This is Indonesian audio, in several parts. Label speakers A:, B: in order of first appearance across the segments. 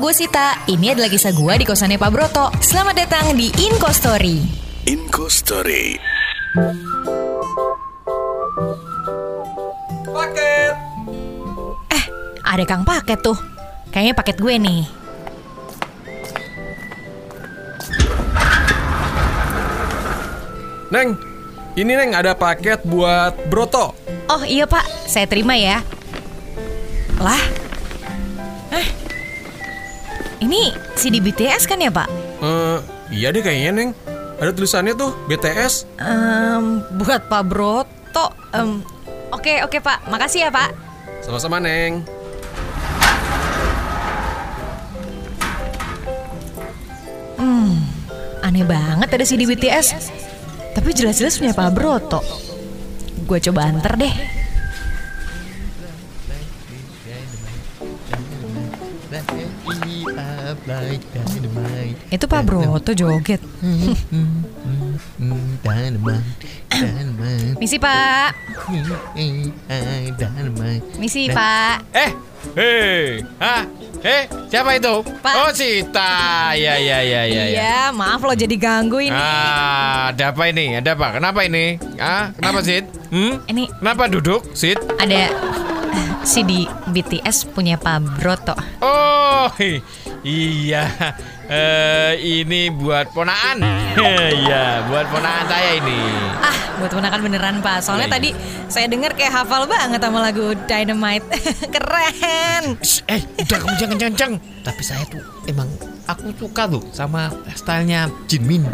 A: gue Sita. Ini adalah kisah gue di kosannya Pak Broto. Selamat datang di Inko Story.
B: Inco Story.
C: Paket.
A: Eh, ada Kang Paket tuh. Kayaknya paket gue nih.
C: Neng, ini Neng ada paket buat Broto.
A: Oh iya Pak, saya terima ya. Lah, eh, ini si di BTS kan ya Pak?
C: Eh, iya deh kayaknya Neng. Ada tulisannya tuh BTS.
A: Em, buat Pak Broto. Em, oke oke Pak, makasih ya Pak.
C: Sama-sama Neng.
A: Aneh banget ada CD BTS. Tapi jelas-jelas punya Pak Broto. Gue coba anter deh.
D: Like dynamite,
A: Itu Pak Broto joget.
D: mm, dynamite, dynamite,
A: Misi Pak.
D: mm, eh, dynamite.
A: Misi Pak.
E: Eh, hei, ah, eh, siapa itu?
A: Pak.
E: Oh, Sita. Ya, ya, ya, ya, ya.
A: Iya, maaf lo jadi ganggu ini.
E: Ah, ada apa ini? Ada apa? Kenapa ini? Ah, kenapa Sid? Hmm?
A: Ini
E: Kenapa duduk, Sid?
A: ada eh, CD BTS punya Pak Broto.
E: Oh, hi, iya. Eh, ini buat ponaan. Iya, buat ponaan saya ini.
A: Ah, buat menakan beneran Pak. Soalnya
E: Iya, iya.
A: tadi saya dengar kayak hafal banget sama lagu Dynamite. Keren.
E: Shh, eh, udah kamu jangan kenceng. Tapi saya tuh emang aku suka tuh sama stylenya Jinmin.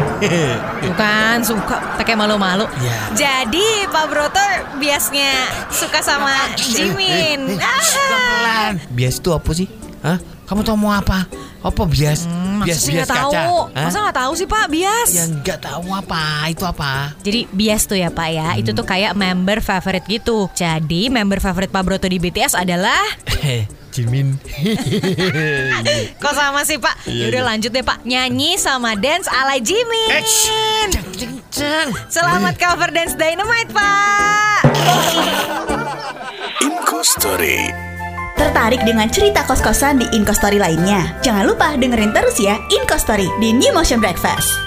A: Bukan suka pakai malu-malu.
E: Iya.
A: Jadi Pak Broto biasanya suka sama
E: Eh,
A: Jimin. Ah.
E: Pelan. Bias itu apa sih? Hah? Kamu tahu mau apa? Apa bias?
A: Hmm, Masa
E: bias
A: sih
E: bias
A: nggak
E: kaca.
A: tahu?
E: Hah?
A: Masa nggak tahu sih Pak bias?
E: Ya nggak tahu apa itu apa?
A: Jadi bias tuh ya Pak ya, itu tuh kayak member favorit gitu. Jadi member favorit Pak Broto di BTS adalah
E: Eh, Jimin.
A: kok sama sih Pak? Yaudah lanjut deh Pak, nyanyi sama dance ala Jimin.
E: Eh, shh, Ceng, ceng, ceng.
A: Selamat cover dance Dynamite Pak.
B: Inco Story.
F: Tertarik dengan cerita kos-kosan di Inkostory lainnya? Jangan lupa dengerin terus ya Inkostory di New Motion Breakfast.